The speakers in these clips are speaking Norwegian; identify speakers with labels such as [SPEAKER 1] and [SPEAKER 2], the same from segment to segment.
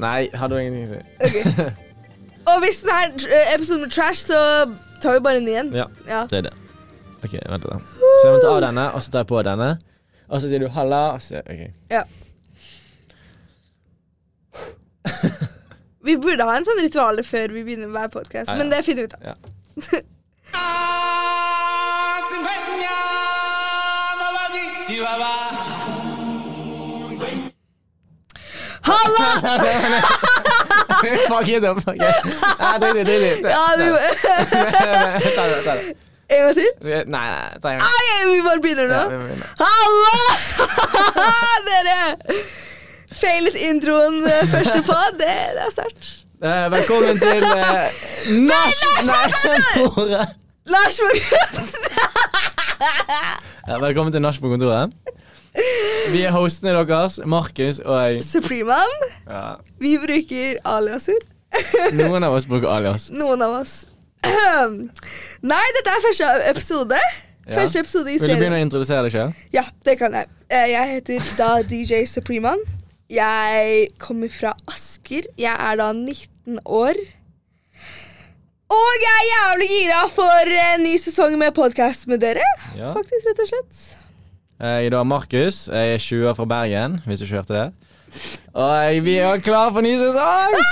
[SPEAKER 1] Nei, hadde jo ingenting å si.
[SPEAKER 2] Og hvis denne her episoden blir trash, så tar vi bare en ny en.
[SPEAKER 1] Ja,
[SPEAKER 2] Ja.
[SPEAKER 1] det er det. OK, vent litt. da. Så jeg må ta av denne, og så tar jeg på denne. Og så sier du 'halla', og så sier jeg, OK.
[SPEAKER 2] ja. Vi burde ha en sånn rituale før vi begynner hver podkast,
[SPEAKER 1] Ja, ja.
[SPEAKER 2] men det finner vi ut av.
[SPEAKER 1] Ja.
[SPEAKER 2] Halla!
[SPEAKER 1] fuck it up. fuck it. Nei, drit i det. Drit i det.
[SPEAKER 2] Ja, vi må
[SPEAKER 1] Ta det. Ta det.
[SPEAKER 2] En gang til?
[SPEAKER 1] Skal jeg- Nei, nei, ta en gang.
[SPEAKER 2] Ok, vi bare begynner nå.
[SPEAKER 1] Ja, vi må begynne.
[SPEAKER 2] Halla! Dere! Feilet introen eh, første på. Det, det er sterkt.
[SPEAKER 1] Eh, velkommen til uh, Nach... Nei,
[SPEAKER 2] Lars Vågen.
[SPEAKER 1] Ja, velkommen til Nach på kontoret. Vi er hostene deres, Markus og jeg.
[SPEAKER 2] Supreman.
[SPEAKER 1] Ja.
[SPEAKER 2] Vi bruker aliaser.
[SPEAKER 1] Noen av oss bruker alias.
[SPEAKER 2] Noen av oss. Nei, dette er første episode.
[SPEAKER 1] Ja.
[SPEAKER 2] Første episode i
[SPEAKER 1] Vil du begynne
[SPEAKER 2] serien.
[SPEAKER 1] å introdusere deg sjøl?
[SPEAKER 2] Ja, det kan jeg. Eh, Jeg heter da DJ Supreman. Jeg kommer fra Asker. Jeg er da 19 år. Og jeg er jævlig gira for en ny sesong med podkast med dere.
[SPEAKER 1] Ja.
[SPEAKER 2] Faktisk, rett og slett.
[SPEAKER 1] Jeg Eh, er da Markus. Jeg er 20 år fra Bergen, hvis du ikke hørte det. Og jeg, vi er klar for ny sesong!
[SPEAKER 2] Jeg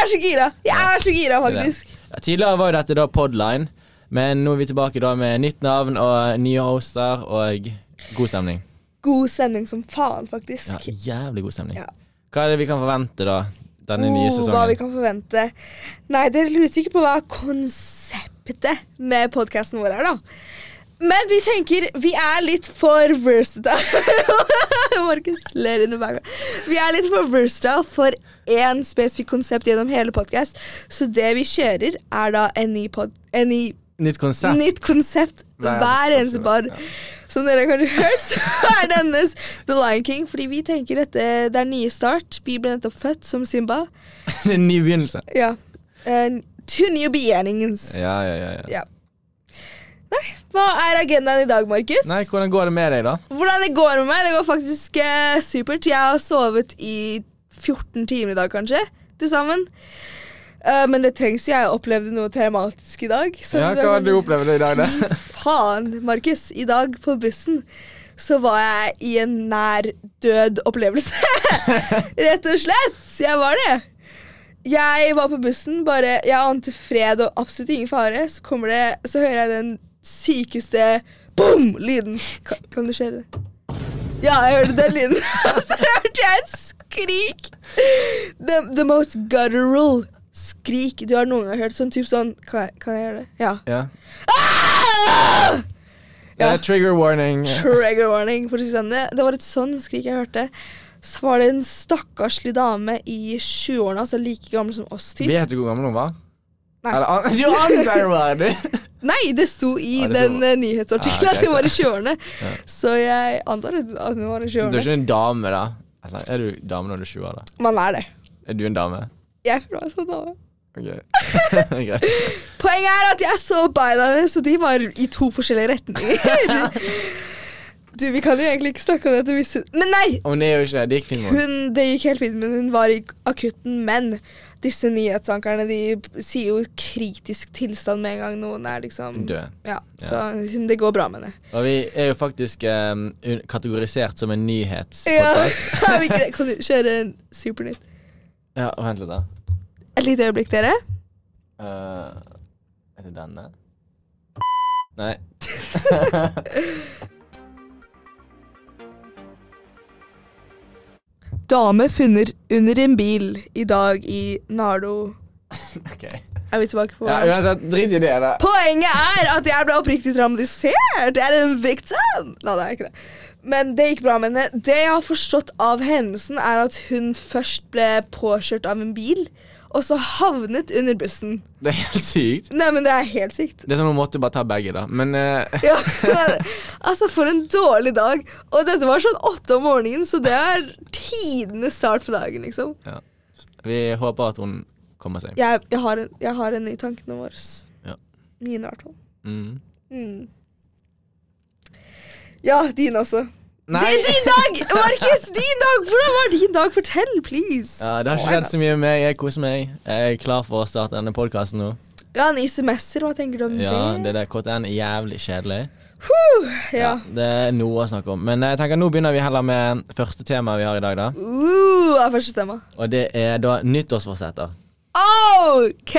[SPEAKER 2] er så gira! Jeg er så gira, Ah, faktisk.
[SPEAKER 1] Ja, Tidligere var jo dette da Podline, men nå er vi tilbake da med nytt navn og nye hoster og god stemning.
[SPEAKER 2] God sending som faen, faktisk.
[SPEAKER 1] Ja, jævlig god stemning.
[SPEAKER 2] Ja.
[SPEAKER 1] Hva er det vi kan forvente da, denne nye
[SPEAKER 2] Oh, hva vi
[SPEAKER 1] sesongen?
[SPEAKER 2] kan forvente. Nei, dere lurer sikkert på hva konseptet med podkasten vår er, da. Men vi tenker vi er litt for versatile. Markus ler inni bakgrunnen. Vi er litt for versatile for én spesifikk konsept gjennom hele podkast. Så det vi kjører, er da en ny pod... En ny
[SPEAKER 1] Nytt konsept?
[SPEAKER 2] nytt konsept
[SPEAKER 1] Hver
[SPEAKER 2] hver
[SPEAKER 1] eneste
[SPEAKER 2] eneste bar. Som dere har kanskje hørt, så er det hennes The Lion King. Fordi vi tenker dette det er nye start. Vi ble nettopp født som Simba.
[SPEAKER 1] en ny begynnelse.
[SPEAKER 2] Ja. Eh, to new beginnings. Ja.
[SPEAKER 1] Ja, ja, ja, ja.
[SPEAKER 2] Hva er agendaen i dag, Markus?
[SPEAKER 1] Nei, hvordan går det med deg, da?
[SPEAKER 2] Hvordan det går med meg? Det går faktisk eh, supert. Jeg har sovet i 14 timer i dag, kanskje. Til sammen. Eh, men det trengs jo. Jeg opplevde noe traumatisk i dag. som
[SPEAKER 1] Ja, hva har du opplevd i dag, da?
[SPEAKER 2] Faen, Markus. I dag på bussen så var jeg i en nær død opplevelse. Rett og slett. Så jeg var det. Jeg var på bussen, bare jeg ante fred og absolutt ingen fare. Så kommer det, så hører jeg den sykeste boom-lyden. Kan, kan du skjøre det? Ja, jeg hørte den lyden. Og så hørte jeg et skrik. The, the most guttural skrik du har noen gang hørt. Sånn typ sånn Kan jeg, kan jeg gjøre det? Ja.
[SPEAKER 1] Ja.
[SPEAKER 2] Ah!
[SPEAKER 1] Ja.
[SPEAKER 2] Ja.
[SPEAKER 1] trigger warning.
[SPEAKER 2] Trigger warning. For å si det sånn. Det- det var et sånn skrik jeg hørte. Så var det en stakkarslig dame i 20-årene, altså like gammel som oss. Typ.
[SPEAKER 1] Vet du hvor gammel hun var?
[SPEAKER 2] Nei.
[SPEAKER 1] Eller ah, an du antar hun var det!
[SPEAKER 2] Nei, det sto i
[SPEAKER 1] Ja, det sto-
[SPEAKER 2] den eh, nyhetsartikkelen
[SPEAKER 1] Ah,
[SPEAKER 2] at hun
[SPEAKER 1] greit,
[SPEAKER 2] var i
[SPEAKER 1] da.
[SPEAKER 2] 20-årene. Så jeg antar at hun var i
[SPEAKER 1] Du er
[SPEAKER 2] 20-årene.
[SPEAKER 1] ikke en dame, da. Altså, er du dame når du er 20 år, da?
[SPEAKER 2] Man er det.
[SPEAKER 1] Er du en dame?
[SPEAKER 2] Jeg føler meg som en dame.
[SPEAKER 1] Ok. Greit.
[SPEAKER 2] Poenget er at jeg så beina hennes, og de var i to forskjellige retninger. du, vi kan jo egentlig ikke snakke om dette hvis hun Men nei!
[SPEAKER 1] Om det er jo ikke Det gikk fint med henne.
[SPEAKER 2] Hun, det gikk helt fint, men hun var i akutten. Men disse nyhetsankerne de sier jo kritisk tilstand med en gang noen er liksom
[SPEAKER 1] Død.
[SPEAKER 2] Ja, Så hun, det går bra med henne.
[SPEAKER 1] Og vi er jo faktisk eh, un- kategorisert som en
[SPEAKER 2] Ja.
[SPEAKER 1] nyhetspodkast.
[SPEAKER 2] Er vi ikke det? kan du kjøre en Supernytt?
[SPEAKER 1] Ja, og vent litt, da.
[SPEAKER 2] Et lite øyeblikk, dere.
[SPEAKER 1] Eh, er det denne? Nei.
[SPEAKER 2] Dame funnet under en bil i dag i Nardo.
[SPEAKER 1] ok.
[SPEAKER 2] Er vi tilbake på
[SPEAKER 1] Ja, uansett, drit i det, da.
[SPEAKER 2] Poenget er at jeg ble oppriktig traumatisert. Jeg er en victim. Nei, det er jeg ikke det. Men det gikk bra med henne. Det jeg har forstått av hendelsen, er at hun først ble påkjørt av en bil, og så havnet under bussen.
[SPEAKER 1] Det er helt sykt.
[SPEAKER 2] Nei, men det er helt sykt.
[SPEAKER 1] Det er som hun måtte bare ta begge, da. Men eh,
[SPEAKER 2] Ja, altså, for en dårlig dag. Og dette var sånn åtte om morgenen, så det er tidenes start på dagen, liksom.
[SPEAKER 1] ja. vi håper at hun kommer seg.
[SPEAKER 2] Jeg, jeg, har, en, jeg har en i tankene våre.
[SPEAKER 1] Ja.
[SPEAKER 2] Mine, i hvert fall.
[SPEAKER 1] Mm.
[SPEAKER 2] Mm. Ja, dine også. Det er din dag! Markus, din dag! Hvordan var din dag? Fortell, please.
[SPEAKER 1] Ja, det har ikke skjedd så mye med meg. Jeg koser meg. Jeg er klar for å starte denne podkasten nå.
[SPEAKER 2] Ja, ny semester, hva tenker du om
[SPEAKER 1] Ja,
[SPEAKER 2] Mm. det?
[SPEAKER 1] det der KTN er jævlig kjedelig.
[SPEAKER 2] Ja.
[SPEAKER 1] Det er noe å snakke om. Men jeg tenker nå begynner vi heller med første tema vi har i dag, da.
[SPEAKER 2] Uh, er første tema.
[SPEAKER 1] Og det er da nyttårsforsetter.
[SPEAKER 2] OK!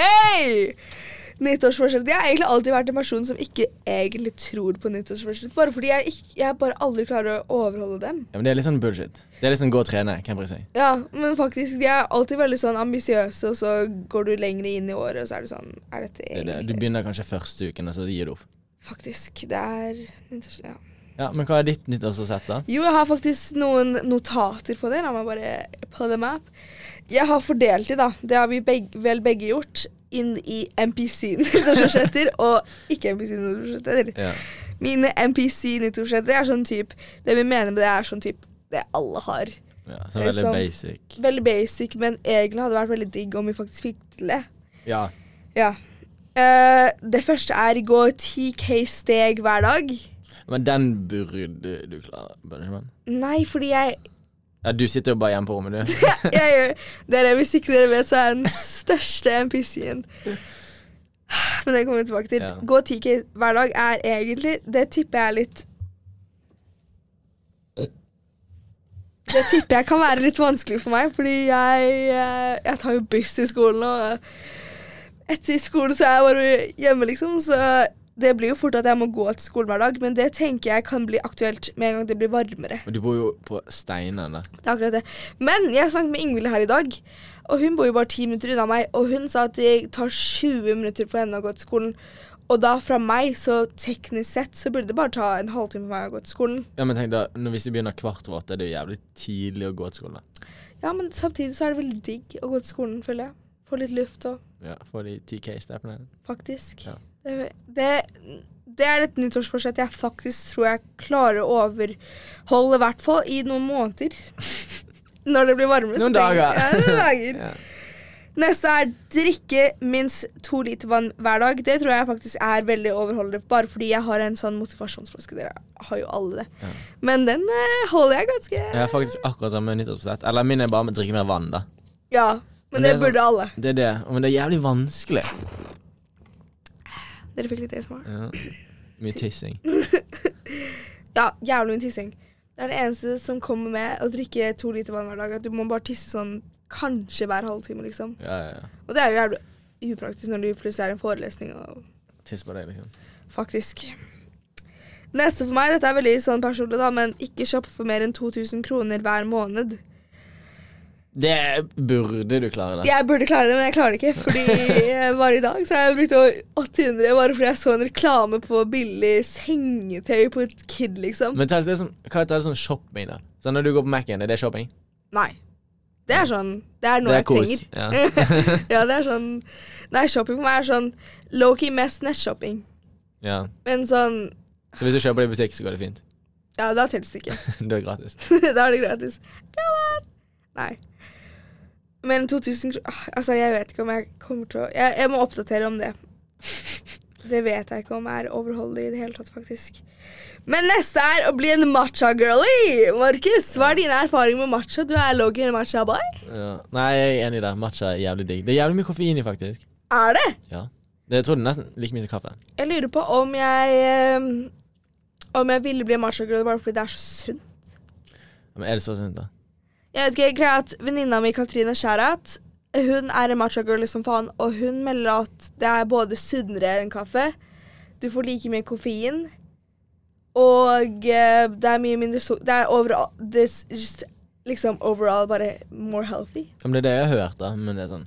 [SPEAKER 2] Nyttårsforsett. Jeg har egentlig alltid vært en person som ikke egentlig tror på nyttårsforsett. Bare fordi jeg, ikke, jeg bare aldri klarer å overholde dem.
[SPEAKER 1] Ja, men det er litt sånn bullshit. Det er litt sånn gå og trene. Hvem bryr seg?
[SPEAKER 2] Ja, men faktisk, de er alltid veldig sånn ambisiøse, og så går du lenger inn i året, og så er det sånn Er dette
[SPEAKER 1] Det, er det. Du
[SPEAKER 2] egentlig
[SPEAKER 1] begynner kanskje første uken, og så gir du opp.
[SPEAKER 2] Faktisk. Det er nyttårs- ja.
[SPEAKER 1] Ja, Men hva er ditt nyttårsforsett, da?
[SPEAKER 2] Jo, jeg har faktisk noen notater på det. La meg bare på the map. Jeg har fordelt de, da. Det har vi beg vel begge gjort. Inn i MPC-nyttårsforsetter og ikke MPC-nyttårsforsetter.
[SPEAKER 1] Ja.
[SPEAKER 2] Mine MPC-nyttårsforsetter er sånn type Det vi mener med det, er sånn type det alle har.
[SPEAKER 1] ja så veldig
[SPEAKER 2] Sånn.
[SPEAKER 1] basic.
[SPEAKER 2] Veldig basic, men egentlig hadde det vært veldig digg om vi faktisk fikk til det.
[SPEAKER 1] Ja.
[SPEAKER 2] Ja. Eh, det første er gå 10K steg hver dag.
[SPEAKER 1] Men den burde du klare. burde ikke man?
[SPEAKER 2] Nei, fordi jeg
[SPEAKER 1] Ja, du sitter jo bare hjemme på rommet, du.
[SPEAKER 2] jeg gjør dere, Hvis ikke dere vet, så er jeg den største NPC-en. Men det kommer vi tilbake til.
[SPEAKER 1] Ja.
[SPEAKER 2] Gå 10K hver dag er egentlig Det tipper jeg er litt Det tipper jeg kan være litt vanskelig for meg, fordi jeg, eh, jeg tar jo buss til skolen. Og etter skolen så er jeg bare hjemme, liksom. Så det blir jo fort at jeg må gå til skolen hver dag, men det tenker jeg kan bli aktuelt med en gang det blir varmere.
[SPEAKER 1] Og du bor jo på Steinene.
[SPEAKER 2] Det er akkurat det. Men jeg snakket med Ingvild her i dag, og hun bor jo bare ti minutter unna meg. Og hun sa at det tar 20 minutter for henne å gå til skolen. Og da fra meg, så teknisk sett, så burde det bare ta en halvtime for meg å gå til skolen.
[SPEAKER 1] Ja, men tenk da, når, Hvis du begynner kvart over åtte, er det jo jævlig tidlig å gå til skolen.
[SPEAKER 2] Ja, men samtidig så er det veldig digg å gå til skolen, føler jeg. Få litt luft og
[SPEAKER 1] Ja, Få de 10K-steppene.
[SPEAKER 2] faktisk.
[SPEAKER 1] Ja.
[SPEAKER 2] Det, det, det er et nyttårsforsett jeg faktisk tror jeg klarer å overholde, i hvert fall i noen måneder. Når det blir varmere. så
[SPEAKER 1] Noen
[SPEAKER 2] tenker-
[SPEAKER 1] dager.
[SPEAKER 2] Ja, noen dager.
[SPEAKER 1] Ja.
[SPEAKER 2] Neste er drikke minst to liter vann hver dag. Det tror jeg faktisk er veldig overholdende, bare fordi jeg har en sånn motivasjonsflaske. Dere har jo alle det.
[SPEAKER 1] Ja.
[SPEAKER 2] Men den eh, holder jeg ganske
[SPEAKER 1] Jeg har faktisk akkurat samme nyttårsforsett. Eller min er bare å drikke mer vann, da.
[SPEAKER 2] Ja,
[SPEAKER 1] Men
[SPEAKER 2] men
[SPEAKER 1] det
[SPEAKER 2] det,
[SPEAKER 1] er sånn-
[SPEAKER 2] burde alle.
[SPEAKER 1] Det er det. Men det er jævlig vanskelig.
[SPEAKER 2] Dere fikk litt ASMR.
[SPEAKER 1] Ja. Mye tissing.
[SPEAKER 2] Ja, jævlig mye tissing. Det er det eneste som kommer med å drikke to liter vann hver dag. At du må bare tisse sånn kanskje hver halvtime, liksom.
[SPEAKER 1] Ja, ja, ja.
[SPEAKER 2] Og det er jo jævlig upraktisk når du plutselig er i en forelesning og
[SPEAKER 1] Tiss på deg, liksom.
[SPEAKER 2] Faktisk. Neste for meg, dette er veldig sånn personlig, da, men ikke shoppe for mer enn 2000 kroner hver måned.
[SPEAKER 1] Det burde du klare, da.
[SPEAKER 2] Jeg burde klare det, men jeg klarer det ikke. Fordi eh, bare i dag så har jeg brukt over 800 bare fordi jeg så en reklame på billig sengetøy på et Kid, liksom.
[SPEAKER 1] Men tell det som, hva heter det sånn shopping, da? Sånn Når du går på Mac-en, er det shopping?
[SPEAKER 2] Nei. Det er sånn Det er noe
[SPEAKER 1] det
[SPEAKER 2] jeg trenger.
[SPEAKER 1] Ja.
[SPEAKER 2] Ja, det er sånn Nei, shopping for meg er sånn low-key mest nettshopping.
[SPEAKER 1] ja.
[SPEAKER 2] Men sånn
[SPEAKER 1] Så hvis du kjøper det i butikk, så går det fint.
[SPEAKER 2] Ja, da telles det ikke.
[SPEAKER 1] det er gratis.
[SPEAKER 2] da er det gratis. Come on! Nei. Men 2000 kroner ah, Altså, jeg vet ikke om jeg kommer til å jeg, jeg må oppdatere om det. Det vet jeg ikke om er overholdelig i det hele tatt, faktisk. Men neste er å bli en matcha-girlie. Markus, hva er dine erfaringer med matcha? Du er logg i en matcha-boy.
[SPEAKER 1] Ja. Nei, jeg er enig der. Matcha er jævlig digg. Det er jævlig mye koffein i, faktisk.
[SPEAKER 2] Er det?
[SPEAKER 1] Ja. Det, jeg tror det er nesten like mye som kaffe.
[SPEAKER 2] Jeg lurer på om jeg eh, Om jeg ville bli en matcha-girlie bare fordi det er så sunt.
[SPEAKER 1] Ja, Men er det så sunt, da?
[SPEAKER 2] Jeg vet ikke, greia er at Venninna mi Katrine Skjærat Hun er en matcha girl som faen, og hun melder at det er både sunnere enn kaffe, du får like mye koffein, og eh, det er mye mindre so... Det er overall this is just, Liksom overall bare more healthy.
[SPEAKER 1] Ja, men det er det jeg har hørt, da. Men det er sånn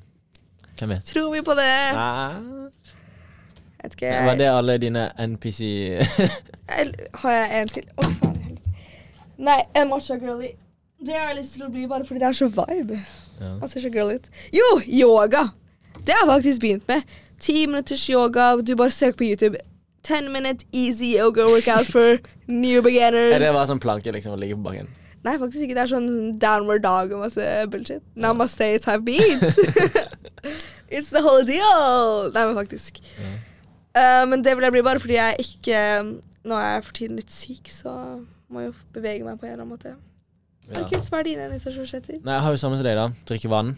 [SPEAKER 1] Hvem vet?
[SPEAKER 2] Tror vi på det?
[SPEAKER 1] Ah.
[SPEAKER 2] Jeg vet ikke,
[SPEAKER 1] Var det alle dine NPC
[SPEAKER 2] jeg, Har jeg en til? Å, faen i helvete. Nei, en matcha girlie. Det har jeg lyst til å bli bare fordi det er så vibe.
[SPEAKER 1] ja.
[SPEAKER 2] Han ser så girl ut. Jo, yoga! Det har jeg faktisk begynt med. Ti minutters yoga, du bare søker på YouTube. Ten minute easy yoga workout for new beginners.
[SPEAKER 1] Er det bare sånn planke, liksom, å ligge på bakken?
[SPEAKER 2] Nei, faktisk ikke. Det er sånn downward dog og masse bullshit. Namaste type beat. It's the whole deal! Nei, men faktisk. um, Eh, men det vil jeg bli bare fordi jeg ikke Nå er jeg for tiden litt syk, så Må jo bevege meg på en eller annen måte. Er
[SPEAKER 1] Ja.
[SPEAKER 2] det kult? Hva er dine invitasjonsretter?
[SPEAKER 1] Nei, jeg har jo samme som deg, da. Drikke vann.